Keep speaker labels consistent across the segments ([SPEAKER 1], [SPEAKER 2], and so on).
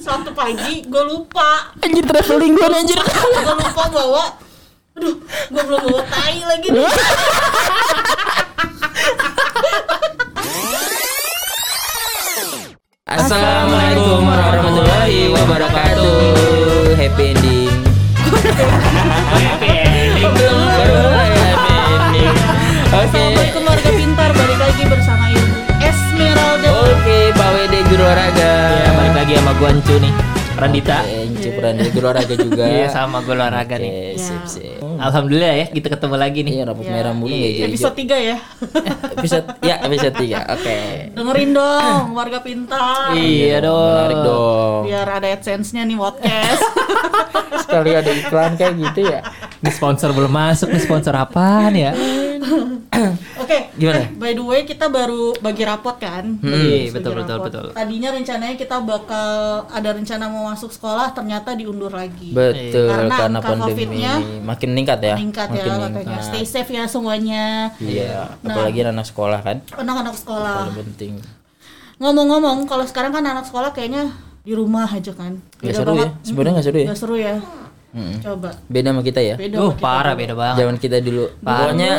[SPEAKER 1] Suatu pagi gue lupa,
[SPEAKER 2] Anjir traveling gue anjir.
[SPEAKER 1] gue lupa bawa. Aduh, gue belum bawa tai lagi. nih.
[SPEAKER 2] Assalamualaikum warahmatullahi wabarakatuh. Happy ending. Belum belum happy ending. Oke.
[SPEAKER 1] Assalamualaikum warga pintar, balik lagi bersama ibu Esmeralda. Iya,
[SPEAKER 2] Oke, Pak Wede guru olahraga.
[SPEAKER 3] Ya balik lagi sama gua Ancu nih Randita
[SPEAKER 2] Oke, Encu Prandi, guru olahraga juga.
[SPEAKER 3] Iya sama gua olahraga
[SPEAKER 2] Oke,
[SPEAKER 3] nih
[SPEAKER 1] Iya.
[SPEAKER 2] sip sip.
[SPEAKER 3] Alhamdulillah ya kita ketemu lagi nih
[SPEAKER 2] Iya, rambut merah mulu ya. jadi-
[SPEAKER 1] Episode 3 ya.
[SPEAKER 2] Episode ya, episode 3. Oke.
[SPEAKER 1] Dengerin dong warga pintar.
[SPEAKER 3] Iya dong
[SPEAKER 2] Menarik dong.
[SPEAKER 1] Biar ada adsense-nya nih podcast.
[SPEAKER 2] Sekali ada iklan kayak gitu
[SPEAKER 3] Iya.
[SPEAKER 2] ya.
[SPEAKER 3] Ini sponsor belum masuk nih sponsor apaan ya
[SPEAKER 1] Oke.
[SPEAKER 2] Gimana?
[SPEAKER 1] eh, by the way, kita baru bagi rapot kan? Bagi
[SPEAKER 3] Iya betul betul
[SPEAKER 1] rapot.
[SPEAKER 3] betul
[SPEAKER 1] Tadinya rencananya kita bakal ada rencana mau masuk sekolah, ternyata diundur lagi.
[SPEAKER 2] Betul
[SPEAKER 1] Karena
[SPEAKER 2] karena,
[SPEAKER 1] angka
[SPEAKER 2] pandemi
[SPEAKER 1] COVID-nya
[SPEAKER 2] makin meningkat ya.
[SPEAKER 1] Meningkat ya
[SPEAKER 2] makin
[SPEAKER 1] katanya. Stay safe ya semuanya.
[SPEAKER 2] Iya,
[SPEAKER 1] Nah.
[SPEAKER 2] apalagi anak sekolah kan
[SPEAKER 1] Anak-anak sekolah.
[SPEAKER 2] paling penting.
[SPEAKER 1] Ngomong-ngomong, kalau sekarang kan anak sekolah kayaknya di rumah aja kan.
[SPEAKER 2] Gak seru ya, sebenarnya gak seru ya.
[SPEAKER 1] Gak seru ya. Coba.
[SPEAKER 2] Beda sama kita ya.
[SPEAKER 1] Beda.
[SPEAKER 3] Uh parah beda banget
[SPEAKER 2] Zaman kita dulu. Pokoknya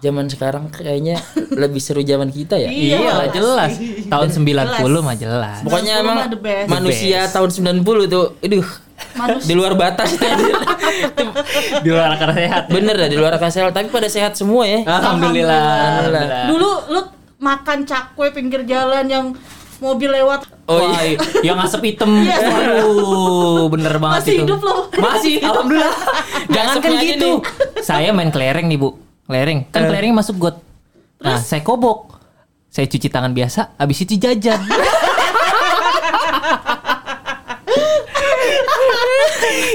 [SPEAKER 2] zaman sekarang kayaknya lebih seru zaman kita ya.
[SPEAKER 3] Iya lah jelas Tahun 90 mah jelas
[SPEAKER 1] 90
[SPEAKER 2] Pokoknya emang
[SPEAKER 1] mah the best.
[SPEAKER 2] manusia tahun 90 tuh, aduh,
[SPEAKER 1] Manusia.
[SPEAKER 2] di luar batas itu.
[SPEAKER 3] Di luar akar sehat
[SPEAKER 2] Bener dah di luar akal sehat, tapi pada sehat semua ya.
[SPEAKER 1] Ah.
[SPEAKER 3] Alhamdulillah Alhamdulillah
[SPEAKER 1] Dulu lu makan cakwe pinggir jalan yang mobil lewat
[SPEAKER 2] Oh
[SPEAKER 3] Wah,
[SPEAKER 2] iya.
[SPEAKER 3] yang asap hitam.
[SPEAKER 1] Iya.
[SPEAKER 3] Aduh, bener banget
[SPEAKER 1] Masih
[SPEAKER 3] itu.
[SPEAKER 1] hidup loh.
[SPEAKER 3] Masih, alhamdulillah. Jangan kan
[SPEAKER 2] Asapnya aja
[SPEAKER 3] gitu. Saya main kelereng nih, Bu. Kelereng.
[SPEAKER 1] Eh.
[SPEAKER 3] Kan kelereng masuk got. Nah, saya kobok. Saya cuci tangan biasa, habis itu jajan.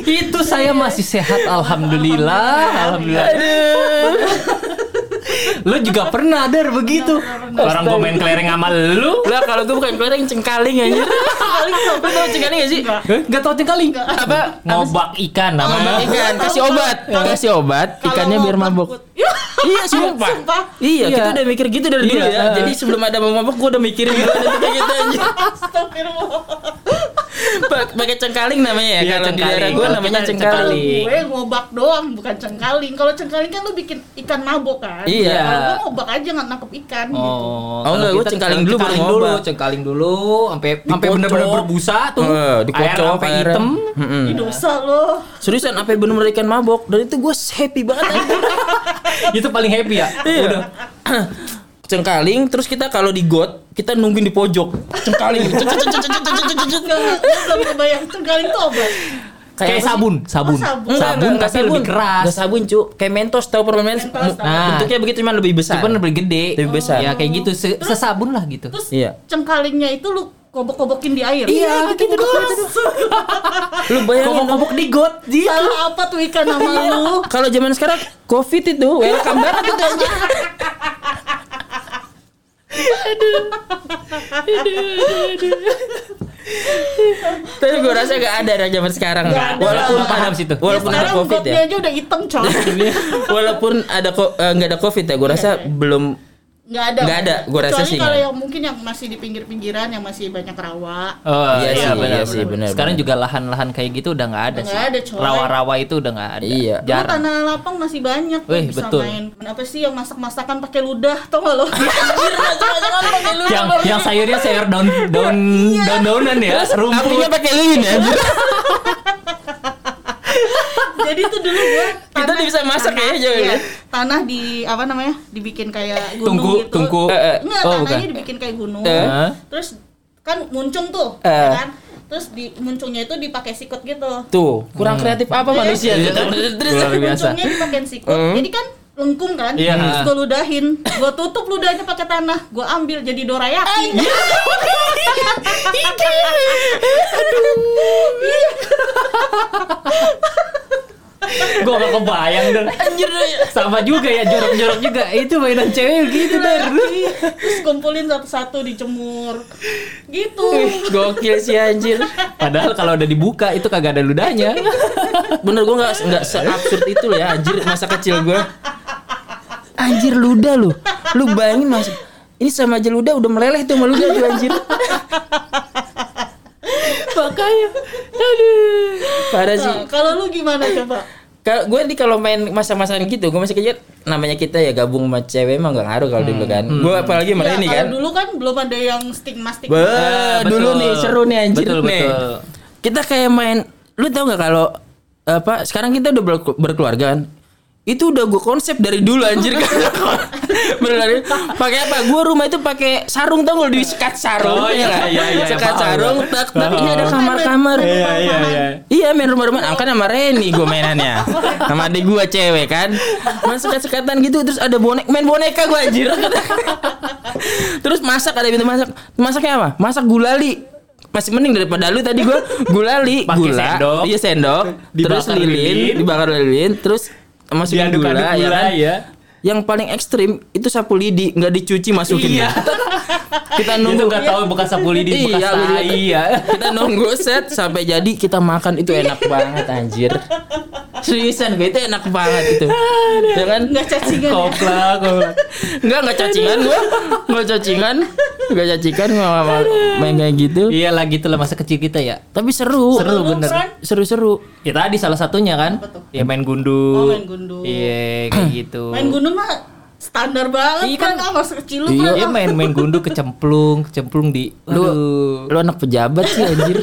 [SPEAKER 3] itu saya masih sehat alhamdulillah alhamdulillah lu juga pernah dar begitu orang gua main kelereng sama lu
[SPEAKER 2] Lah kalau gue bukan kelereng cengkaling
[SPEAKER 1] Iya.
[SPEAKER 2] anjir. Cengkaling apa tau cengkaling gak sih?
[SPEAKER 3] Gak tau tingkali
[SPEAKER 2] Apa
[SPEAKER 3] Ngobak ikan
[SPEAKER 2] Ngobak
[SPEAKER 3] namanya
[SPEAKER 2] ikan, kasih obat, kasih obat,
[SPEAKER 1] Kalau
[SPEAKER 2] ikannya
[SPEAKER 1] mau
[SPEAKER 2] biar mabok.
[SPEAKER 1] takut. Iya.
[SPEAKER 2] Iya sumpah.
[SPEAKER 1] Sumpah.
[SPEAKER 2] Iya,
[SPEAKER 3] Iya.
[SPEAKER 2] kita udah mikir gitu dari dulu
[SPEAKER 3] Iya,
[SPEAKER 2] ya.
[SPEAKER 3] eh.
[SPEAKER 2] Jadi sebelum ada mau mabok gua udah mikirin gitu kayak gitu anjir.
[SPEAKER 1] Astagfirullah.
[SPEAKER 2] Pa- Pakai cengkaling namanya ya.
[SPEAKER 3] Iya,
[SPEAKER 2] kalau di
[SPEAKER 3] cengkaling.
[SPEAKER 2] daerah gua
[SPEAKER 3] Kalau
[SPEAKER 2] namanya
[SPEAKER 3] kita
[SPEAKER 2] cengkaling.
[SPEAKER 3] Cengkaling.
[SPEAKER 1] Gue ngobak doang bukan cengkaling. Kalau cengkaling kan lu bikin ikan mabok kan.
[SPEAKER 2] Iya.
[SPEAKER 1] Kalau gue ngobak aja nggak nangkep ikan gitu.
[SPEAKER 2] Oh, enggak,
[SPEAKER 3] kalau
[SPEAKER 2] gua
[SPEAKER 3] kita
[SPEAKER 2] cengkaling dulu baru
[SPEAKER 3] dulu,
[SPEAKER 2] ngobak.
[SPEAKER 3] cengkaling dulu, sampai sampai
[SPEAKER 2] Dikocok.
[SPEAKER 3] benar-benar berbusa tuh,
[SPEAKER 2] Eh,
[SPEAKER 3] air
[SPEAKER 2] dikocok
[SPEAKER 3] sampai
[SPEAKER 2] airnya.
[SPEAKER 3] hitam.
[SPEAKER 2] Mm-mm.
[SPEAKER 1] Ini dosa lo.
[SPEAKER 2] Seriusan apa bener-bener ikan mabok? Dan itu gua happy banget anjir.
[SPEAKER 3] itu paling happy ya.
[SPEAKER 2] Iya.
[SPEAKER 3] Udah.
[SPEAKER 2] cengkaling terus kita kalau di got kita nungguin di pojok cengkaling Cet, cet, cet, cet, cet, cet, cet, cet.
[SPEAKER 1] Enggak enggak gue belum kebayang cengkaling tuh obat.
[SPEAKER 3] Kayak
[SPEAKER 2] apa sih?
[SPEAKER 3] sabun,
[SPEAKER 1] Oh, sabun.
[SPEAKER 3] sabun.
[SPEAKER 2] Enggak,
[SPEAKER 3] sabun
[SPEAKER 2] enggak,
[SPEAKER 3] tapi lebih keras.
[SPEAKER 2] Enggak sabun, cu. Kayak Mentos tahu permen Mentos.
[SPEAKER 1] Mentos tahu.
[SPEAKER 2] Nah, bentuknya begitu cuman lebih besar.
[SPEAKER 3] Cuman lebih gede.
[SPEAKER 2] Lebih besar.
[SPEAKER 3] Ya kayak gitu, se- sesabun lah gitu.
[SPEAKER 1] Terus
[SPEAKER 2] Iya.
[SPEAKER 1] cengkalingnya itu lu kobok-kobokin di air.
[SPEAKER 3] Iya, gitu doang.
[SPEAKER 2] Lu bayangin dong.
[SPEAKER 3] Kobok-kobok di got,
[SPEAKER 2] Iya.
[SPEAKER 3] di.
[SPEAKER 1] Salah apa tuh ikan nama lu?
[SPEAKER 2] Kalau zaman sekarang Covid itu welcome gitu kan. banget itu. anjir. Tapi gue rasa gak ada dah zaman sekarang.
[SPEAKER 1] Nggak ada.
[SPEAKER 2] Walaupun
[SPEAKER 3] Nggak
[SPEAKER 2] ada
[SPEAKER 3] paham situ.
[SPEAKER 2] Walaupun ada
[SPEAKER 1] Ya, sekarang
[SPEAKER 2] Covid
[SPEAKER 1] gotnya
[SPEAKER 2] ya.
[SPEAKER 1] aja udah hitam coy.
[SPEAKER 2] Walaupun ada ko- eh, nggak ada Covid ya, gue rasa belum
[SPEAKER 1] Nggak ada.
[SPEAKER 2] Nggak ada, gua rasa
[SPEAKER 1] Kecuali
[SPEAKER 2] sih
[SPEAKER 1] kalau
[SPEAKER 2] nggak ada.
[SPEAKER 1] yang mungkin yang masih di pinggir-pinggiran yang masih banyak rawa.
[SPEAKER 3] Oh,
[SPEAKER 2] Iya sih, iya
[SPEAKER 3] benar,
[SPEAKER 2] sih,
[SPEAKER 3] benar.
[SPEAKER 2] benar,
[SPEAKER 3] Sekarang
[SPEAKER 2] benar.
[SPEAKER 3] juga lahan-lahan kayak gitu udah nggak ada
[SPEAKER 1] Udah
[SPEAKER 3] sih.
[SPEAKER 1] nggak ada, coy.
[SPEAKER 3] Rawa-rawa itu udah nggak ada.
[SPEAKER 2] Iya.
[SPEAKER 1] Dulu
[SPEAKER 3] Jarang.
[SPEAKER 1] tanah lapang masih banyak tuh
[SPEAKER 3] Wih,
[SPEAKER 1] bisa
[SPEAKER 3] betul.
[SPEAKER 1] main. Apa sih yang masak-masakan pakai ludah tau gak lo?
[SPEAKER 2] Iya,
[SPEAKER 3] yang yang sayurnya sayur daun daun
[SPEAKER 1] Iya.
[SPEAKER 3] daun daunan ya
[SPEAKER 2] Apinya
[SPEAKER 3] rumput
[SPEAKER 2] pakai lilin ya. anjir.
[SPEAKER 1] Jadi itu dulu gue
[SPEAKER 2] Kita udah bisa masak ya, jangan ya.
[SPEAKER 1] iya, Tanah di apa namanya? Dibikin kayak gunung
[SPEAKER 3] tungku
[SPEAKER 1] gitu.
[SPEAKER 3] tungku
[SPEAKER 2] Eh, eh.
[SPEAKER 1] Enggak,
[SPEAKER 3] oh
[SPEAKER 1] tanahnya
[SPEAKER 3] bukan
[SPEAKER 1] dibikin kayak gunung.
[SPEAKER 2] Eh.
[SPEAKER 3] Hah?
[SPEAKER 1] Terus kan muncung tuh,
[SPEAKER 2] Eh.
[SPEAKER 1] ya kan? Terus di muncungnya itu dipakai sikut gitu.
[SPEAKER 2] Tuh, kurang kreatif apa manusia?
[SPEAKER 3] Hmm. Iya. Luar biasa.
[SPEAKER 1] Muncungnya dipakein sikut.
[SPEAKER 2] Hmm.
[SPEAKER 1] Jadi kan lengkung kan?
[SPEAKER 3] Iya.
[SPEAKER 1] Terus gue ludahin, gue tutup ludahnya pakai tanah, gue ambil jadi dorayaki.
[SPEAKER 2] Iya.
[SPEAKER 3] gua gak kebayang dan
[SPEAKER 2] Anjir.
[SPEAKER 3] sama juga ya jorok-jorok juga itu mainan cewek gitu dar
[SPEAKER 1] Terus kumpulin satu-satu dijemur. Gitu.
[SPEAKER 2] Gokil sih anjir.
[SPEAKER 3] padahal kalau udah dibuka itu kagak ada ludahnya
[SPEAKER 2] Bener gue nggak nggak seabsurd itu loh ya anjir masa kecil gue.
[SPEAKER 3] anjir ludah lu
[SPEAKER 2] Lu bayangin mas, ini sama aja ludah udah meleleh tuh sama ludah tuh anjir. makanya aduh parah sih
[SPEAKER 1] Nah, kalau lu gimana coba?
[SPEAKER 2] kalau gue nih kalau main masa-masaan gitu gue masih kecil namanya kita ya gabung sama cewek emang gak ngaruh kalau dulu kan gue apalagi
[SPEAKER 3] Iya,
[SPEAKER 2] sama
[SPEAKER 1] Ya,
[SPEAKER 2] ini
[SPEAKER 1] kalau
[SPEAKER 2] kan
[SPEAKER 1] dulu kan belum ada yang gitu kan. stigma stigma.
[SPEAKER 2] Be,
[SPEAKER 3] Ah, betul.
[SPEAKER 2] dulu nih seru nih anjir
[SPEAKER 3] Betul,
[SPEAKER 2] nih.
[SPEAKER 3] betul.
[SPEAKER 2] Kita kayak main lu tau nggak kalau apa sekarang kita udah berke- berkeluarga kan? Itu udah gue konsep dari dulu anjir kan. Beneran. Pakai apa? Gue rumah itu pakai sarung tau nggak di sekat sarung.
[SPEAKER 3] Oh, iya,
[SPEAKER 2] kan?
[SPEAKER 3] iya, iya,
[SPEAKER 2] Sekat
[SPEAKER 3] paham,
[SPEAKER 2] sarung
[SPEAKER 3] paham.
[SPEAKER 2] tak tapi ini ada
[SPEAKER 1] Paham.
[SPEAKER 2] kamar-kamar.
[SPEAKER 1] Iya, iya, iya.
[SPEAKER 2] Iya main rumah-rumah Ah, kan sama Reni gue mainannya Sama adik gue cewek kan Main sekat-sekatan gitu Terus ada bonek Main boneka gue anjir Terus masak ada pintu masak Masaknya apa? Masak gulali masih mending daripada lu tadi gua gulali
[SPEAKER 3] Pakai
[SPEAKER 2] gula
[SPEAKER 3] sendok.
[SPEAKER 2] iya sendok terus
[SPEAKER 4] Dibakar
[SPEAKER 2] lilin,
[SPEAKER 4] lilin.
[SPEAKER 2] dibakar lilin terus masukin
[SPEAKER 4] Diaduk-aduk
[SPEAKER 2] gula, ya
[SPEAKER 4] gula,
[SPEAKER 2] kan?
[SPEAKER 4] ya.
[SPEAKER 2] yang paling ekstrim itu sapu lidi nggak dicuci masukin
[SPEAKER 4] Iya.
[SPEAKER 2] kita
[SPEAKER 4] Itu
[SPEAKER 2] nunggu
[SPEAKER 4] nggak tahu bekas sapu lidi, bekas
[SPEAKER 2] Iya, gua juga
[SPEAKER 4] tai ya.
[SPEAKER 2] kita nunggu set sampai jadi kita makan itu enak banget anjir seriusan gue itu enak banget itu ya kan
[SPEAKER 1] Nggak cacingan ya?
[SPEAKER 4] Kopla, kopla.
[SPEAKER 2] nggak nggak cacingan gue nggak cacingan nggak cacingan nggak mau main kayak gitu
[SPEAKER 3] Iya lah gitu lah masa kecil kita ya.
[SPEAKER 2] tapi seru
[SPEAKER 3] Seru
[SPEAKER 1] Lu,
[SPEAKER 3] bener.
[SPEAKER 1] Fran?
[SPEAKER 2] seru-seru
[SPEAKER 3] Ya tadi salah satunya kan.
[SPEAKER 1] Apa tuh?
[SPEAKER 3] Ya main
[SPEAKER 1] Oh,
[SPEAKER 3] gundu.
[SPEAKER 1] main gundu.
[SPEAKER 3] Iya kayak gitu.
[SPEAKER 1] Main gunung mah standar banget
[SPEAKER 3] Iya
[SPEAKER 1] kan,
[SPEAKER 3] kan?
[SPEAKER 1] kan masih kecil lu
[SPEAKER 3] Iya
[SPEAKER 1] kan.
[SPEAKER 3] dia main main gundu kecemplung, kecemplung di
[SPEAKER 2] lu
[SPEAKER 3] Aduh.
[SPEAKER 2] lu anak pejabat sih anjir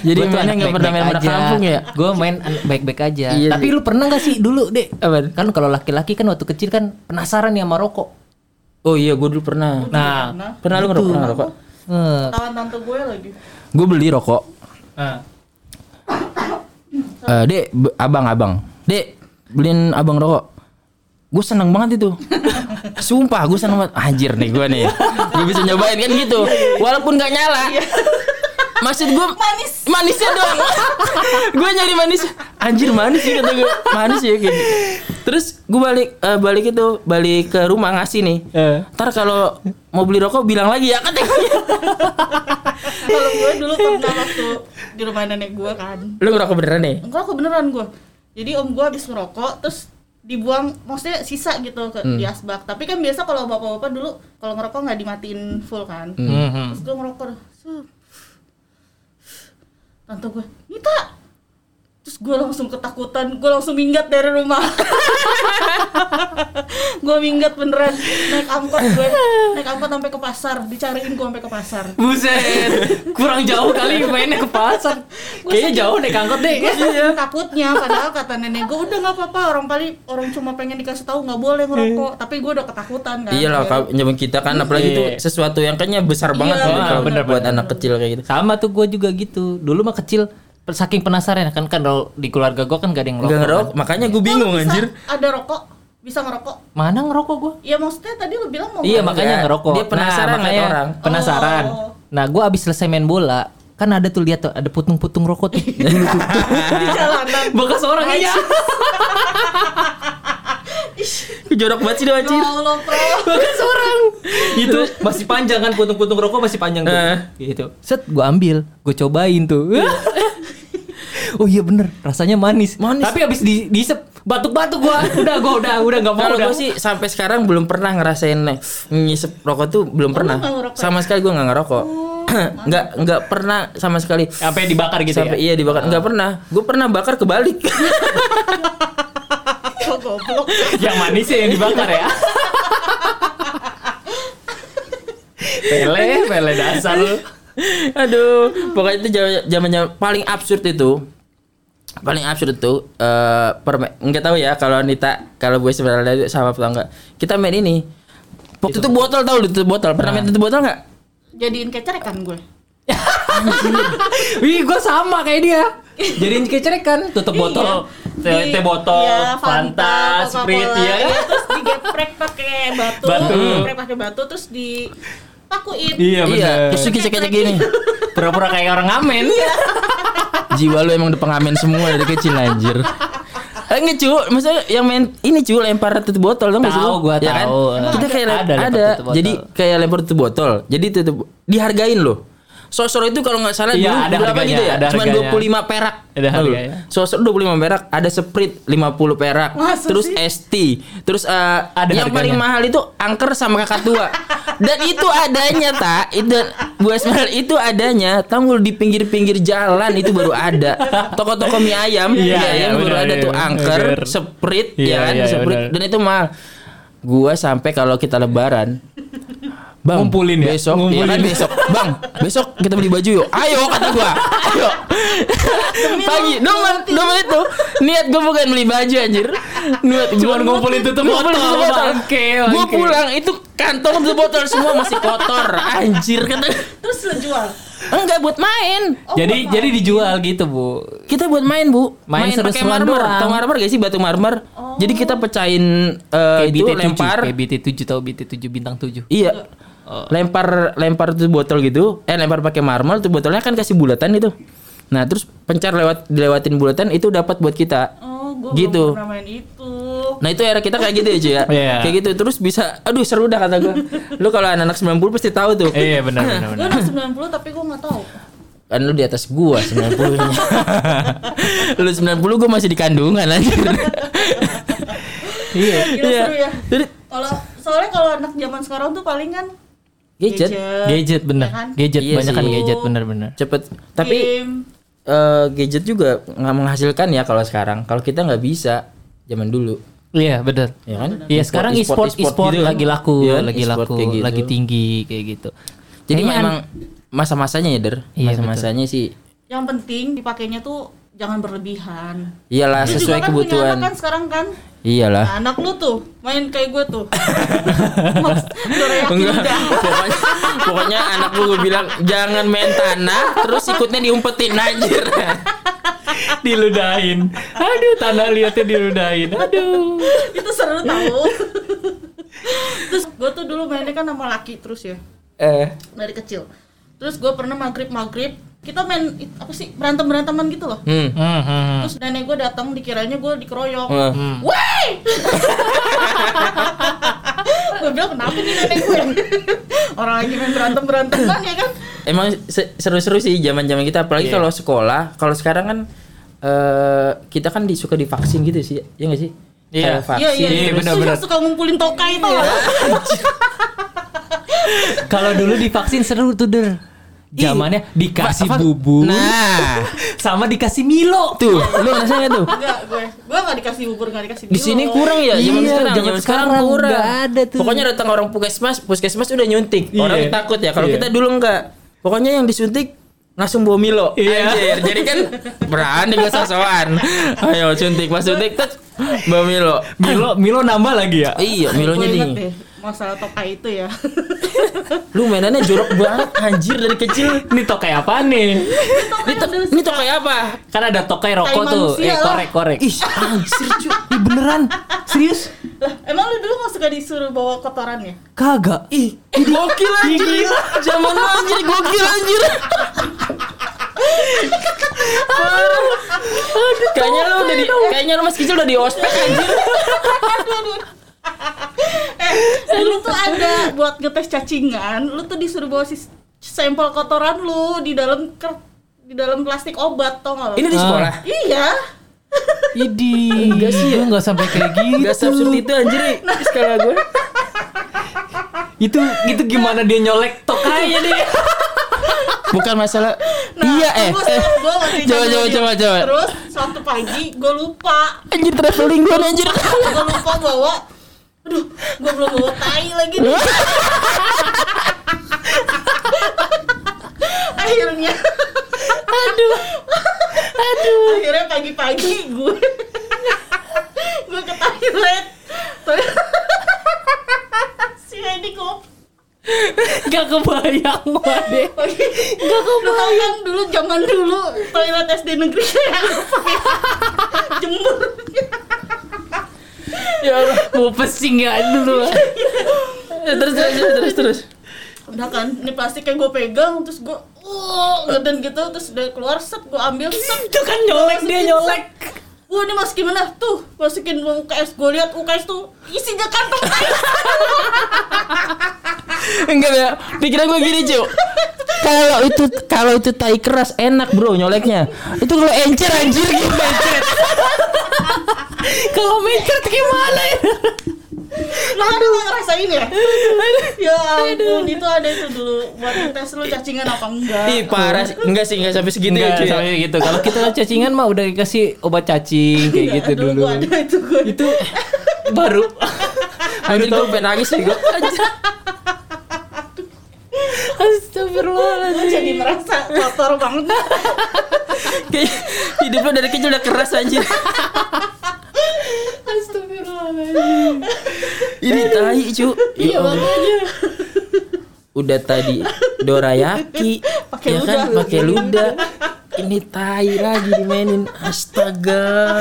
[SPEAKER 2] jadi mainnya nggak pernah main anak kampung ya
[SPEAKER 3] Gue main anak baik-baik aja.
[SPEAKER 2] Iya
[SPEAKER 3] Tapi
[SPEAKER 2] sih.
[SPEAKER 3] lu pernah gak sih dulu, Dek?
[SPEAKER 2] Apaan?
[SPEAKER 3] Kan kalau laki-laki kan waktu kecil kan penasaran ya sama rokok.
[SPEAKER 2] oh iya gue dulu pernah
[SPEAKER 3] Nah,
[SPEAKER 1] Pernah.
[SPEAKER 2] pernah lu ngerokok pernah rokok
[SPEAKER 3] eh,
[SPEAKER 1] Tawan tante gue lagi.
[SPEAKER 2] gue beli rokok
[SPEAKER 3] eh,
[SPEAKER 2] Eh, dek, be- abang, abang. Dek, beliin abang rokok. Gue seneng banget itu. Sumpah, gue seneng banget. Anjir nih gue nih. Gue bisa nyobain kan gitu. Walaupun gak nyala. Maksud gue
[SPEAKER 1] Manis.
[SPEAKER 2] manisnya doang. gue nyari manis. Anjir manis sih kata gue. Manis ya kayak gitu. Terus gue balik eh, balik itu balik ke rumah ngasih nih.
[SPEAKER 4] Eh.
[SPEAKER 2] Ntar kalau mau beli rokok bilang lagi ya kata gue.
[SPEAKER 1] Kalau gue dulu pernah waktu di rumah nenek gue kan.
[SPEAKER 2] Lu ngerokok beneran nih?
[SPEAKER 1] Enggak aku beneran gue. Jadi om gue habis ngerokok terus dibuang maksudnya sisa gitu ke
[SPEAKER 3] Hmm.
[SPEAKER 1] di asbak. Tapi kan biasa kalau bapak-bapak dulu kalau ngerokok nggak dimatiin full kan.
[SPEAKER 3] mhm.
[SPEAKER 1] Terus gue ngerokok dah. Sup. Tante gue, Nita! Terus gue langsung ketakutan, gue langsung minggat dari rumah Gue minggat beneran, naik angkot gue Naik angkot sampai ke pasar, dicariin gue sampai ke pasar
[SPEAKER 3] Buset, kurang jauh kali mainnya ke pasar. Kayaknya jauh naik angkot deh.
[SPEAKER 1] Gue saking takutnya, padahal kata nenek gue udah nggak apa-apa Orang paling, orang cuma pengen dikasih tahu nggak boleh ngerokok Tapi gue udah ketakutan kan
[SPEAKER 2] Iya lah kalau nyambung kita kan apalagi itu
[SPEAKER 3] Iya.
[SPEAKER 2] sesuatu yang kayaknya besar banget
[SPEAKER 1] Iya,
[SPEAKER 2] kan
[SPEAKER 1] bener,
[SPEAKER 2] kalau
[SPEAKER 3] bener,
[SPEAKER 2] buat anak kecil kayak gitu.
[SPEAKER 3] Sama tuh gue juga gitu. Dulu mah kecil per- saking penasaran kan kan kalau di keluarga gue kan gak ada yang ngerokok.
[SPEAKER 2] Enggak ngerok, makanya gue bingung
[SPEAKER 1] Bisa
[SPEAKER 2] anjir.
[SPEAKER 1] Ada rokok, bisa ngerokok
[SPEAKER 3] kan. Mana ngerokok gue?
[SPEAKER 1] Ya maksudnya tadi lu bilang mau
[SPEAKER 3] Iya
[SPEAKER 1] ngerokok.
[SPEAKER 3] makanya
[SPEAKER 2] Enggak.
[SPEAKER 3] ngerokok.
[SPEAKER 2] Dia penasaran
[SPEAKER 3] nah, makanya
[SPEAKER 2] ngeliat orang.
[SPEAKER 3] Penasaran.
[SPEAKER 1] Oh.
[SPEAKER 3] Nah gue abis selesai main bola kan ada tuh lihat tuh ada putung-putung rokok tuh. Dulu tuh.
[SPEAKER 1] Di jalanan
[SPEAKER 3] Bekas orang iya.
[SPEAKER 2] Jorok banget sih dia
[SPEAKER 1] Ya
[SPEAKER 2] anjir.
[SPEAKER 1] Allah, Pro.
[SPEAKER 3] Bekas orang.
[SPEAKER 4] Itu masih panjang kan puntung-puntung rokok masih panjang tuh.
[SPEAKER 2] Eh.
[SPEAKER 4] Gitu.
[SPEAKER 3] Set gue ambil, gue cobain tuh. oh iya bener, rasanya manis.
[SPEAKER 2] Manis.
[SPEAKER 3] Tapi abis di diisep batuk-batuk gue. Udah gue udah udah nggak mau
[SPEAKER 2] Kalau
[SPEAKER 3] udah.
[SPEAKER 2] gue sih sampai sekarang belum pernah ngerasain nih, ngisep rokok tuh belum pernah.
[SPEAKER 1] nggak ngerokok Oh, ya?
[SPEAKER 2] Sama sekali gue nggak ngerokok. Nggak nggak pernah sama sekali.
[SPEAKER 3] Ah,
[SPEAKER 4] Sampai dibakar gitu
[SPEAKER 2] Sampai
[SPEAKER 4] ya.
[SPEAKER 2] iya dibakar nggak pernah. Gue pernah bakar kebalik.
[SPEAKER 1] Kok goblok
[SPEAKER 4] Yang manisnya yang dibakar ya. pele, pele dasar lu.
[SPEAKER 2] Aduh, pokoknya itu zaman- zamannya paling absurd itu. Paling absurd itu eh perme nggak tahu ya kalau Anita kalau gue sebenarnya sama atau enggak. Kita main ini. Waktu itu botol tahu tutup botol. Pernah main tutup botol enggak?
[SPEAKER 1] jadiin kecerek kan gue
[SPEAKER 3] Wih, gue sama kayak dia. Jadi kecerek kan, tutup
[SPEAKER 4] Botol, teh
[SPEAKER 1] Di-
[SPEAKER 4] teh botol,
[SPEAKER 1] iya,
[SPEAKER 4] Fanta,
[SPEAKER 1] Coca-Cola.
[SPEAKER 4] Sprite ya.
[SPEAKER 1] Iya, terus digeprek pakai batu,
[SPEAKER 4] Batu.
[SPEAKER 1] digeprek pakai batu terus dipakuin
[SPEAKER 4] Iya
[SPEAKER 2] iya,
[SPEAKER 4] benar.
[SPEAKER 2] terus kecek-kecek gini.
[SPEAKER 4] Pura-pura kayak orang ngamen.
[SPEAKER 2] Jiwa lu emang udah pengamen semua dari kecil anjir. Eh enggak cu, maksudnya yang main ini cu lempar tutup botol dong
[SPEAKER 3] Tahu, gua tahu.
[SPEAKER 2] Iya kan? Kita kayak
[SPEAKER 3] Ada
[SPEAKER 2] ada,
[SPEAKER 3] lempar
[SPEAKER 2] ada.
[SPEAKER 3] tutup botol.
[SPEAKER 2] jadi kayak lempar tutup botol. Jadi tutup dihargain loh. sosro itu kalau nggak salah
[SPEAKER 3] Iya,
[SPEAKER 2] dulu
[SPEAKER 3] ada
[SPEAKER 2] berapa
[SPEAKER 3] harganya,
[SPEAKER 2] gitu ya?
[SPEAKER 3] ada
[SPEAKER 2] Cuman
[SPEAKER 3] harganya.
[SPEAKER 2] 25 perak.
[SPEAKER 3] Ada
[SPEAKER 2] Lalu,
[SPEAKER 3] harganya.
[SPEAKER 2] Sosro 25 perak, ada sprint 50 perak,
[SPEAKER 1] Masa
[SPEAKER 2] terus
[SPEAKER 1] sih?
[SPEAKER 2] ST, terus eh,
[SPEAKER 3] Ada
[SPEAKER 2] yang
[SPEAKER 3] harganya.
[SPEAKER 2] paling mahal itu angker sama kakak tua. Dan itu adanya, tak? Itu Bu Asmal itu adanya, tanggul di pinggir-pinggir jalan itu baru ada. Toko-toko mie ayam,
[SPEAKER 3] Iya,
[SPEAKER 2] mie ayam
[SPEAKER 3] iya,
[SPEAKER 2] baru
[SPEAKER 3] benar,
[SPEAKER 2] ada
[SPEAKER 3] iya,
[SPEAKER 2] tuh angker,
[SPEAKER 3] benar.
[SPEAKER 2] sprint,
[SPEAKER 3] Iya,
[SPEAKER 2] ya kan,
[SPEAKER 3] iya, iya,
[SPEAKER 2] Sprite.
[SPEAKER 3] benar.
[SPEAKER 2] dan itu mahal. Gua sampai kalau kita lebaran Bang,
[SPEAKER 3] Ngumpulin ya?
[SPEAKER 2] besok,
[SPEAKER 3] Ngumpulin.
[SPEAKER 2] iya kan besok, bang, besok kita beli baju yuk. Ayo kata gua, ayo. Pagi, domen, domen itu niat gua bukan beli baju anjir. Niat
[SPEAKER 3] Cuman ngumpulin tutup
[SPEAKER 2] Ngumpulin
[SPEAKER 3] botol,
[SPEAKER 2] tutup botol.
[SPEAKER 3] bangke,
[SPEAKER 2] Gua
[SPEAKER 3] bangke.
[SPEAKER 2] pulang itu kantong tutup botol semua masih kotor, anjir kata.
[SPEAKER 1] Terus lo jual.
[SPEAKER 2] Enggak buat main.
[SPEAKER 1] Oh,
[SPEAKER 3] jadi
[SPEAKER 1] buat
[SPEAKER 3] jadi dijual gitu bu.
[SPEAKER 2] Kita buat main, Bu.
[SPEAKER 3] Main
[SPEAKER 2] pakai
[SPEAKER 3] seru-seruan
[SPEAKER 2] marmer.
[SPEAKER 3] doang.
[SPEAKER 2] Tahu marmer gak sih batu marmer? Jadi kita pecahin eh,
[SPEAKER 3] Kayak
[SPEAKER 2] itu
[SPEAKER 3] BT7,
[SPEAKER 2] lempar.
[SPEAKER 3] kayak BT7 tau BT7 bintang 7.
[SPEAKER 2] Iya.
[SPEAKER 1] Oh.
[SPEAKER 2] Lempar lempar tuh botol gitu, eh lempar pakai marmal tuh botolnya kan kasih bulatan gitu. Nah, terus pencar lewat dilewatin bulatan itu dapat buat kita.
[SPEAKER 1] Oh, gue
[SPEAKER 2] Gitu.
[SPEAKER 1] belum pernah main itu.
[SPEAKER 2] Nah, itu era kita kayak gitu ya, Ci ya.
[SPEAKER 3] Iya.
[SPEAKER 2] Kayak gitu terus bisa aduh seru dah kata gua. Lu kalau anak-anak 90 pasti tahu tuh.
[SPEAKER 3] Iya benar benar
[SPEAKER 1] Gue anak 90 tapi gue nggak tahu.
[SPEAKER 2] Kan lu di atas gua 90-nya. lu 90 gua masih di kandungan anjir.
[SPEAKER 3] Iya.
[SPEAKER 1] Gila seru ya.
[SPEAKER 2] Jadi
[SPEAKER 1] Kalau soalnya kalau anak zaman sekarang tuh paling kan
[SPEAKER 2] gadget
[SPEAKER 3] Gadget bener.
[SPEAKER 1] Ya kan?
[SPEAKER 3] Gadget
[SPEAKER 2] Iya
[SPEAKER 3] banyak kan
[SPEAKER 2] sih.
[SPEAKER 3] gadget bener bener.
[SPEAKER 2] cepet tapi
[SPEAKER 1] game.
[SPEAKER 2] eh, gadget juga nggak menghasilkan ya kalau sekarang kalau kita nggak bisa zaman dulu
[SPEAKER 3] Iya bener.
[SPEAKER 2] ya kan?
[SPEAKER 3] Iya sekarang e-sport e-sport
[SPEAKER 2] gitu kan?
[SPEAKER 3] lagi laku,
[SPEAKER 2] Iya kan?
[SPEAKER 3] lagi
[SPEAKER 2] E-sport
[SPEAKER 3] laku,
[SPEAKER 2] kayak gitu.
[SPEAKER 3] lagi tinggi kayak gitu.
[SPEAKER 2] Jadi
[SPEAKER 3] Kayaknya
[SPEAKER 2] memang masa-masanya ya, Der.
[SPEAKER 3] Iya,
[SPEAKER 2] masa-masanya sih.
[SPEAKER 1] Yang penting dipakainya tuh jangan berlebihan.
[SPEAKER 2] Iyalah
[SPEAKER 1] Lu juga
[SPEAKER 2] sesuai
[SPEAKER 1] kan punya
[SPEAKER 2] kebutuhan.
[SPEAKER 1] anak kan sekarang kan.
[SPEAKER 2] Iyalah.
[SPEAKER 1] Nah, anak lu tuh main kayak gue tuh. Mas, udah reaksi udah.
[SPEAKER 2] pokoknya, pokoknya anak gue bilang jangan main tanah terus ikutnya diumpetin anjir.
[SPEAKER 3] diludahin. Aduh, tanah liatnya diludahin. Aduh.
[SPEAKER 1] itu seru tau terus gue tuh dulu mainnya kan sama laki terus ya
[SPEAKER 2] eh,
[SPEAKER 1] dari kecil terus gue pernah maghrib maghrib kita main it- apa sih berantem beranteman gitu loh
[SPEAKER 2] hmm.
[SPEAKER 1] terus nenek gue datang dikiranya gue dikeroyok
[SPEAKER 2] Eh.
[SPEAKER 1] Woi! gue bilang kenapa nih nenek gue? Orang lagi main berantem beranteman ya kan?
[SPEAKER 2] Emang se- seru-seru sih zaman-zaman kita apalagi
[SPEAKER 3] Iya.
[SPEAKER 2] kalau sekolah. Kalau sekarang kan eh kita kan di- suka divaksin gitu sih. Iya enggak sih?
[SPEAKER 3] Iya.
[SPEAKER 2] Kayak vaksin.
[SPEAKER 1] Iya iya.
[SPEAKER 3] Iya,
[SPEAKER 1] Terus
[SPEAKER 3] benar-benar.
[SPEAKER 1] suka ngumpulin tokai itu.
[SPEAKER 3] Kalau dulu divaksin seru tuh, Der. Zamannya dikasih
[SPEAKER 2] Va- va-
[SPEAKER 3] bubur
[SPEAKER 2] Nah,
[SPEAKER 3] sama dikasih Milo.
[SPEAKER 2] tuh, lu ngerasa nggak tuh?
[SPEAKER 1] Enggak gue. Gue nggak dikasih bubur nggak dikasih.
[SPEAKER 2] Di
[SPEAKER 1] minum.
[SPEAKER 2] sini kurang ya zaman
[SPEAKER 3] Iya,
[SPEAKER 2] sekarang.
[SPEAKER 3] zaman
[SPEAKER 2] Zaman sekarang
[SPEAKER 3] sekarang
[SPEAKER 2] kurang.
[SPEAKER 3] nggak ada tuh.
[SPEAKER 2] Pokoknya datang orang puskesmas, puskesmas udah nyuntik.
[SPEAKER 3] Iya.
[SPEAKER 2] Orang takut ya. Kalau
[SPEAKER 3] Iya.
[SPEAKER 2] kita dulu enggak. Pokoknya yang disuntik langsung bawa Milo.
[SPEAKER 3] Iya.
[SPEAKER 2] Anjir. Jadi kan berani gue sosokan. Ayo suntik, pas suntik tet bawa Milo.
[SPEAKER 3] Milo Milo nambah lagi ya.
[SPEAKER 2] Iya, Milonya
[SPEAKER 1] Gue inget
[SPEAKER 2] dingin.
[SPEAKER 1] deh masalah tokai itu ya.
[SPEAKER 2] Lu mainannya jorok banget anjir dari kecil.
[SPEAKER 3] Ini tokai apa nih?
[SPEAKER 2] Ini, to ini tokai apa?
[SPEAKER 3] Kan ada tokai rokok
[SPEAKER 1] Kayak
[SPEAKER 3] tuh,
[SPEAKER 1] manusia
[SPEAKER 3] eh,
[SPEAKER 1] lah.
[SPEAKER 3] korek-korek.
[SPEAKER 2] Ih, anjir cuy. Ih, beneran.
[SPEAKER 3] Serius?
[SPEAKER 1] lah, emang lu dulu nggak suka disuruh bawa kotoran ya?
[SPEAKER 3] Kagak. Ih,
[SPEAKER 2] Gokil anjir.
[SPEAKER 3] Gila.
[SPEAKER 2] Zaman lu anjir gokil anjir. Parah. Kayaknya lu udah di kayaknya lu masih kecil udah di ospek anjir.
[SPEAKER 1] Eh, dulu tuh ada buat ngetes cacingan, lu tuh disuruh bawa si sampel kotoran lu di dalam ker- di dalam plastik obat tau gak?
[SPEAKER 2] Ini di
[SPEAKER 3] Ah.
[SPEAKER 2] sekolah.
[SPEAKER 1] Iya.
[SPEAKER 3] Idi,
[SPEAKER 2] Enggak sih ya.
[SPEAKER 3] gue nggak sampai kayak gitu.
[SPEAKER 2] Gak absurd itu anjir di sekolah gue.
[SPEAKER 3] itu itu gimana dia nyolek tokainya dia?
[SPEAKER 2] Bukan masalah. iya eh.
[SPEAKER 1] terus Nah, gua masih
[SPEAKER 2] Coba,
[SPEAKER 1] ingat
[SPEAKER 2] coba,
[SPEAKER 1] dulu.
[SPEAKER 2] coba, coba.
[SPEAKER 1] Terus suatu pagi gue lupa,
[SPEAKER 2] Anjir traveling gue anjir.
[SPEAKER 1] gue lupa bawa. Aduh, gue belum bawa tai lagi nih. Akhirnya. Aduh. Aduh. Akhirnya pagi-pagi gue gue ke toilet. Toilet. si Edi kok
[SPEAKER 3] Gak kebayang gua deh.
[SPEAKER 1] pagi. Gak kebayang dulu zaman dulu toilet SD negeri yang pakai jemur.
[SPEAKER 3] Ya Allah, mau pesing ya dulu. Ya,
[SPEAKER 2] Terus terus terus, terus terus.
[SPEAKER 1] Udah kan, ini plastiknya gue pegang terus gue Oh, ngeden gitu terus udah keluar set gue ambil set
[SPEAKER 3] Itu kan nyolek dia nyolek.
[SPEAKER 1] Wah ini masuk gimana? Tuh masukin UKS gue lihat UKS tuh isinya kantong
[SPEAKER 2] Enggak ya. Pikiran gue gini, Cuk. kalau itu kalau itu tai keras enak bro nyoleknya. Itu kalau encer anjir gimana encer?
[SPEAKER 3] Kalau mencret gimana ya?
[SPEAKER 1] Lo Nah, ada nggak ngerasain ya? ya ampun, itu ada itu dulu buat tes lu cacingan apa enggak?
[SPEAKER 2] Ih parah sih. enggak sih enggak sampai segitu ya,
[SPEAKER 3] Enggak,
[SPEAKER 2] cuy. ya.
[SPEAKER 3] sampai gitu. Kalau kita cacingan mah udah dikasih obat cacing kayak gitu
[SPEAKER 1] Aduh,
[SPEAKER 3] dulu.
[SPEAKER 1] gua ada itu gua.
[SPEAKER 3] Itu baru
[SPEAKER 2] Anjir gue pengen nangis nih gue.
[SPEAKER 1] Gua
[SPEAKER 3] Astagfirullahaladzim.
[SPEAKER 1] jadi merasa kotor banget.
[SPEAKER 2] Kayak Hidup lo dari kecil udah keras anjir.
[SPEAKER 3] Astagfirullahaladzim.
[SPEAKER 2] Ini tai cu.
[SPEAKER 3] Iya
[SPEAKER 2] Ya Allah.
[SPEAKER 3] makanya.
[SPEAKER 2] Udah tadi dorayaki,
[SPEAKER 1] Pakai
[SPEAKER 2] ya kan
[SPEAKER 1] ludah.
[SPEAKER 2] pakai ludah. Ini tai lagi dimainin. Astaga.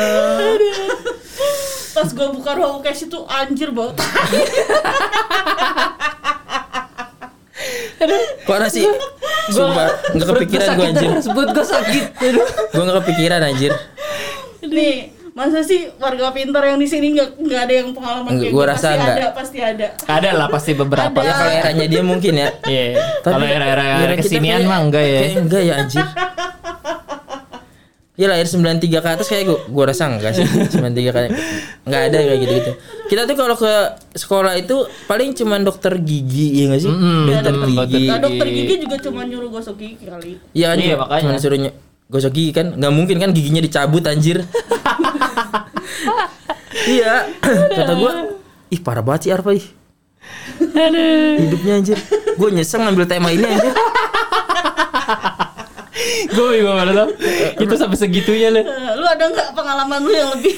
[SPEAKER 1] Pas gua buka ruang UKS itu anjir bau tai.
[SPEAKER 2] Kok nasi? Sumpah, nggak kepikiran gue anjir.
[SPEAKER 3] Sebut gue sakit. Aduh.
[SPEAKER 2] Gue nggak kepikiran anjir.
[SPEAKER 1] Nih, masa sih warga pintar yang di sini nggak nggak ada yang pengalaman
[SPEAKER 2] Nggak,
[SPEAKER 1] kayak
[SPEAKER 2] gua
[SPEAKER 1] gitu?
[SPEAKER 2] rasa
[SPEAKER 1] pasti
[SPEAKER 2] nggak.
[SPEAKER 1] ada, pasti ada.
[SPEAKER 3] Ada lah pasti beberapa.
[SPEAKER 2] Ya kalau eranya dia mungkin ya.
[SPEAKER 3] Iya.
[SPEAKER 2] Tapi
[SPEAKER 3] Kalau era-era
[SPEAKER 2] kita
[SPEAKER 3] kesinian
[SPEAKER 2] kayak-
[SPEAKER 3] mah enggak ya.
[SPEAKER 2] kayak enggak ya anjir. Ya lahir 93 ke atas kayak gua, gua rasa enggak sih 93 kayak enggak ada kayak gitu-gitu. Kita tuh kalau ke sekolah itu paling cuman dokter gigi ya enggak sih?
[SPEAKER 3] Mm-mm,
[SPEAKER 2] dokter
[SPEAKER 3] mm,
[SPEAKER 2] gigi.
[SPEAKER 1] Nah,
[SPEAKER 3] dokter
[SPEAKER 1] dokter gigi juga cuma nyuruh gosok gigi kali.
[SPEAKER 2] Iya kan?
[SPEAKER 4] Iya, makanya.
[SPEAKER 2] Cuman suruh nye- gosok gigi kan enggak mungkin kan giginya dicabut anjir. iya. Kata gua, ih parah banget sih Arfa ih. Hidupnya anjir. Gua nyesel ngambil tema ini anjir.
[SPEAKER 3] Gue gimana tuh? Itu sampai segitunya loh.
[SPEAKER 1] Eh, Lu ada nggak pengalaman lu yang lebih?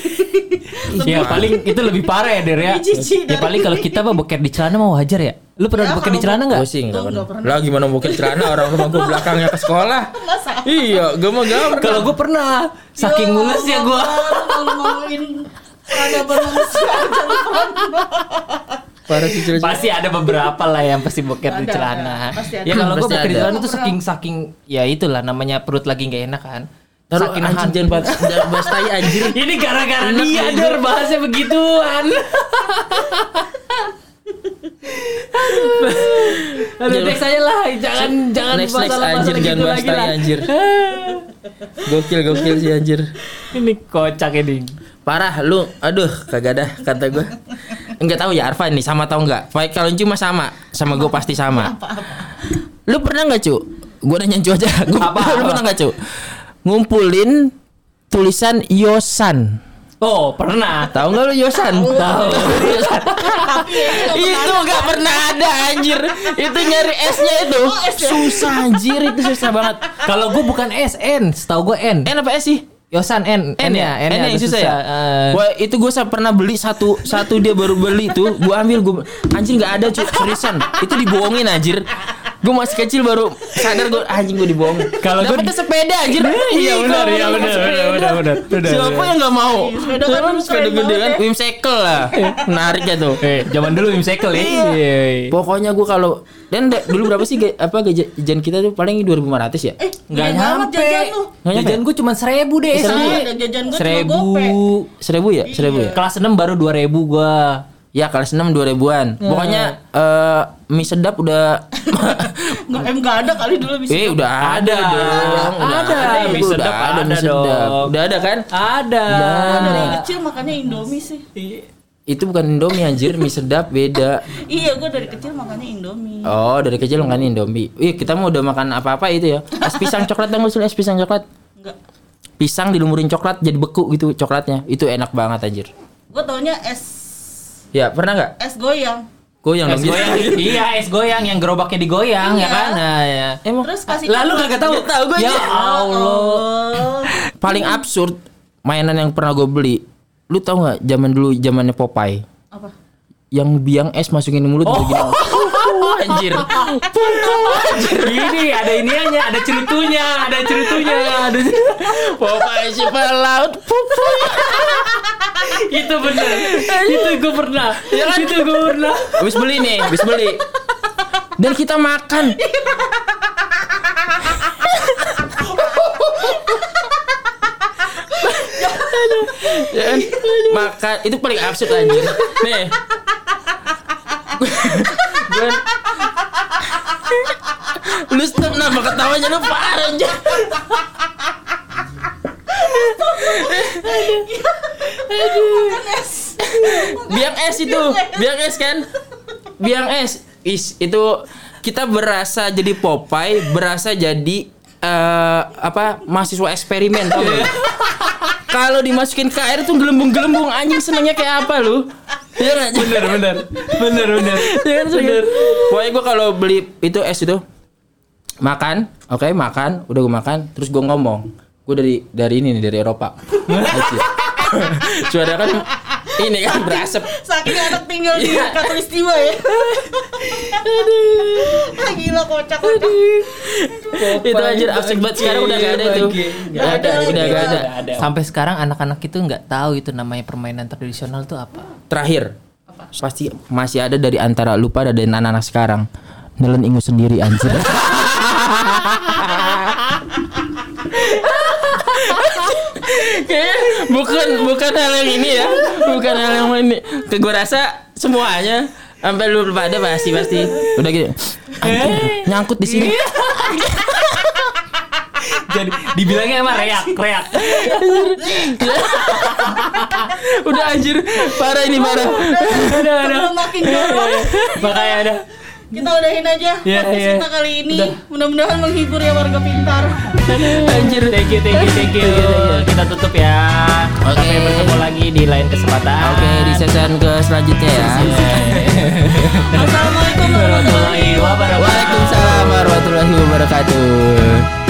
[SPEAKER 3] Ya paling itu lebih parah ya Der ya.
[SPEAKER 1] Lebih jijik
[SPEAKER 3] Ya
[SPEAKER 1] dari-
[SPEAKER 3] paling kalau kita mah boker di celana mah wajar ya. Lu
[SPEAKER 1] Ya,
[SPEAKER 3] pernah boker di
[SPEAKER 1] kalau
[SPEAKER 3] celana
[SPEAKER 2] Gue
[SPEAKER 3] enggak?
[SPEAKER 2] sih enggak
[SPEAKER 1] Gua
[SPEAKER 2] pernah.
[SPEAKER 1] nggak pernah.
[SPEAKER 2] Lah gimana mungkin celana orang rumah gue belakangnya ke sekolah.
[SPEAKER 1] Masa?
[SPEAKER 2] Iya, gue mah gak pernah.
[SPEAKER 3] Kalau gue pernah. Saking
[SPEAKER 1] Ya,
[SPEAKER 3] mules ya gue.
[SPEAKER 1] Allah, Kalau ngomongin ada manusia aja lu pernah.
[SPEAKER 2] Parah sih cuy.
[SPEAKER 3] Pasti ada beberapa lah yang pasti boker di
[SPEAKER 1] Ada,
[SPEAKER 3] celana.
[SPEAKER 1] ada. Pasti ada.
[SPEAKER 3] Ya kalau gue
[SPEAKER 2] Pasti
[SPEAKER 3] boker di
[SPEAKER 2] ada.
[SPEAKER 3] celana tuh saking saking ya itulah namanya perut lagi nggak enak kan.
[SPEAKER 2] Taruh
[SPEAKER 3] Saking
[SPEAKER 2] anjing
[SPEAKER 3] nahan.
[SPEAKER 2] jangan bahas, jangan bahas tai anjir.
[SPEAKER 3] Ini gara-gara
[SPEAKER 2] Enak
[SPEAKER 3] dia
[SPEAKER 2] ya,
[SPEAKER 3] Der bahasnya begituan. Aduh,
[SPEAKER 2] Jangan-
[SPEAKER 3] next aja lah, jangan jangan
[SPEAKER 2] next next
[SPEAKER 3] masalah-masalah
[SPEAKER 2] anjir jangan
[SPEAKER 3] gitu
[SPEAKER 2] bahas
[SPEAKER 3] lagi
[SPEAKER 2] tai
[SPEAKER 3] lah.
[SPEAKER 2] anjir. Gokil gokil sih anjir.
[SPEAKER 3] Ini kocak ini.
[SPEAKER 2] Parah lu. Aduh, kagak dah kata gue. Enggak tahu ya Arfan nih sama tau enggak? Baik kalau cuma sama, sama gue pasti sama. Lu pernah nggak cu? Gue nanya cu aja. Gua,
[SPEAKER 3] Apa,
[SPEAKER 2] lu
[SPEAKER 3] apa?
[SPEAKER 2] pernah nggak cu? Ngumpulin tulisan Yosan.
[SPEAKER 3] Oh, pernah.
[SPEAKER 2] Tahu nggak lu Yosan?
[SPEAKER 3] Tahu.
[SPEAKER 2] itu nggak pernah ada Oh, anjir. Itu nyari S-nya itu susah anjir itu susah banget.
[SPEAKER 3] Kalau gue bukan SN, setahu gue N.
[SPEAKER 2] N apa S sih?
[SPEAKER 3] Yosan N,
[SPEAKER 2] N ya, N, yang susah, ya.
[SPEAKER 3] eh.
[SPEAKER 2] Wah itu gue pernah beli satu satu dia baru beli itu gue ambil gue anjing nggak ada cuy seriusan itu dibohongin anjir gue masih kecil baru sadar gue anjing gue dibohongin
[SPEAKER 3] Kalau gua-
[SPEAKER 2] Dapetnya sepeda anjir
[SPEAKER 3] Iya benar, iya benar, benar, benar, benar, benar.
[SPEAKER 2] siapa yang nggak mau
[SPEAKER 1] Iya, sepeda kan
[SPEAKER 2] Kan
[SPEAKER 1] dulu
[SPEAKER 2] sepeda
[SPEAKER 1] keren
[SPEAKER 2] gede
[SPEAKER 1] banget
[SPEAKER 2] kan
[SPEAKER 1] ya.
[SPEAKER 2] whimsical lah menarik ya tuh
[SPEAKER 3] Eh, zaman dulu Imsekel ya.
[SPEAKER 2] Iya.
[SPEAKER 3] Iya.
[SPEAKER 2] Pokoknya gue kalau dan da- dulu berapa sih ga- apa gaji- jajan kita tuh paling 2500 ya?
[SPEAKER 1] Eh,
[SPEAKER 3] Nggak
[SPEAKER 1] gede banget
[SPEAKER 3] nyampe.
[SPEAKER 1] jajan lu.
[SPEAKER 2] Nggak nyampe.
[SPEAKER 3] Jajan gue cuma seribu deh.
[SPEAKER 1] Eh,
[SPEAKER 3] SD.
[SPEAKER 1] sama ada jajan gua cuma
[SPEAKER 3] seribu.
[SPEAKER 1] gope.
[SPEAKER 2] Seribu
[SPEAKER 1] Iya.
[SPEAKER 2] ya? Seribu ya?
[SPEAKER 3] Kelas 6 baru 2000 gua.
[SPEAKER 2] Ya kelas 6 2000-an.
[SPEAKER 1] Nah.
[SPEAKER 2] Pokoknya eh mie sedap udah
[SPEAKER 1] Nggak, em nggak ada kali dulu bisa.
[SPEAKER 2] eh udah ada,
[SPEAKER 3] Ada.
[SPEAKER 2] dong. Udah
[SPEAKER 3] Ada. Mie
[SPEAKER 2] Udah
[SPEAKER 3] sedap ada
[SPEAKER 2] mie sedap.
[SPEAKER 3] dong.
[SPEAKER 2] Udah ada kan?
[SPEAKER 3] Ada.
[SPEAKER 1] Dari kecil makannya Indomie sih.
[SPEAKER 2] Itu bukan Indomie anjir, mie sedap beda.
[SPEAKER 1] Iya, gua dari kecil makannya Indomie.
[SPEAKER 2] Oh, dari kecil makan Indomie. Ih, kita mau udah makan apa-apa itu ya. Es pisang coklat dong, usul es pisang coklat.
[SPEAKER 1] Enggak.
[SPEAKER 2] Pisang dilumurin coklat jadi beku gitu coklatnya. Itu enak banget anjir.
[SPEAKER 1] Gua taunya es
[SPEAKER 2] Ya, pernah nggak?
[SPEAKER 1] es goyang.
[SPEAKER 2] Goyang
[SPEAKER 3] Es
[SPEAKER 2] dong. gitu.
[SPEAKER 3] goyang. iya, es goyang yang gerobaknya digoyang ya
[SPEAKER 1] Iya.
[SPEAKER 3] kan. Nah, ya.
[SPEAKER 2] Emang
[SPEAKER 1] Terus kasih
[SPEAKER 3] Lalu kagak tahu. Tahu
[SPEAKER 2] gua
[SPEAKER 3] Ya
[SPEAKER 2] aja.
[SPEAKER 3] Allah.
[SPEAKER 1] Oh.
[SPEAKER 2] paling absurd mainan yang pernah gue beli. Lu tau nggak zaman dulu zamannya Popeye?
[SPEAKER 1] Apa?
[SPEAKER 2] Yang biang es masukin di mulut
[SPEAKER 3] Oh.
[SPEAKER 2] begini. anjir.
[SPEAKER 3] Ini ada iniannya, ada cerutunya, ada cerutunya. Ada...
[SPEAKER 2] Popeye si pelaut.
[SPEAKER 3] itu bener. itu gue pernah. itu gue pernah.
[SPEAKER 2] Habis beli nih, habis beli. Dan kita makan. Ya kan? makan itu paling absurd anjir. Nih. Gua- Lu stop kenapa ketawanya lu parah anjir. Biang es itu, biang es kan? Biang es. Is itu kita berasa jadi Popeye, berasa jadi eh, apa mahasiswa eksperimen tau gak? Kalau dimasukin ke air tuh gelembung-gelembung anjing senengnya kayak apa lu? Iya nggak?
[SPEAKER 4] Bener bener bener bener.
[SPEAKER 2] Iya kan bener. Pokoknya gue kalau beli itu es itu makan, oke makan, udah gue makan, terus gue ngomong, gue dari dari ini nih dari Eropa. Suara kan ini kan berasap.
[SPEAKER 1] Saking anak tinggal di
[SPEAKER 2] Iya.
[SPEAKER 1] katulistiwa ya. Ah, Gila kocak kocak.
[SPEAKER 2] itu anjir absek banget sekarang udah gak ada itu.
[SPEAKER 4] Bagi.
[SPEAKER 2] Gak iya, ada, udah gak ada.
[SPEAKER 3] Sampai sekarang anak-anak itu nggak tahu itu namanya permainan tradisional itu apa.
[SPEAKER 2] Terakhir pasti masih ada dari antara lupa ada dan anak-anak sekarang nelen ingus sendiri anjir. Kayaknya bukan bukan hal yang ini ya bukan hal yang ini ke gua rasa semuanya sampai lu pada pasti pasti Iya. udah gitu anjir, nyangkut di sini
[SPEAKER 4] Jadi dibilangnya emang reak reak.
[SPEAKER 2] udah anjir parah ini parah
[SPEAKER 4] Ada ada.
[SPEAKER 1] Sebelum makin jorok,
[SPEAKER 4] Makanya ada.
[SPEAKER 1] kita udahin aja
[SPEAKER 4] Iya,
[SPEAKER 1] podcast
[SPEAKER 4] iya.
[SPEAKER 1] kita kali ini. Mudah-mudahan menghibur ya warga pintar.
[SPEAKER 4] Iya. Anjir. Thank you thank you thank you. Kita tutup ya.
[SPEAKER 2] Oke.
[SPEAKER 4] Sampai bertemu lagi di lain kesempatan.
[SPEAKER 2] oke di season ke selanjutnya ya
[SPEAKER 1] Assalamualaikum warahmatullahi
[SPEAKER 4] Warahmatullahi wabarakatuh.
[SPEAKER 2] Waalaikumsalam warahmatullahi wabarakatuh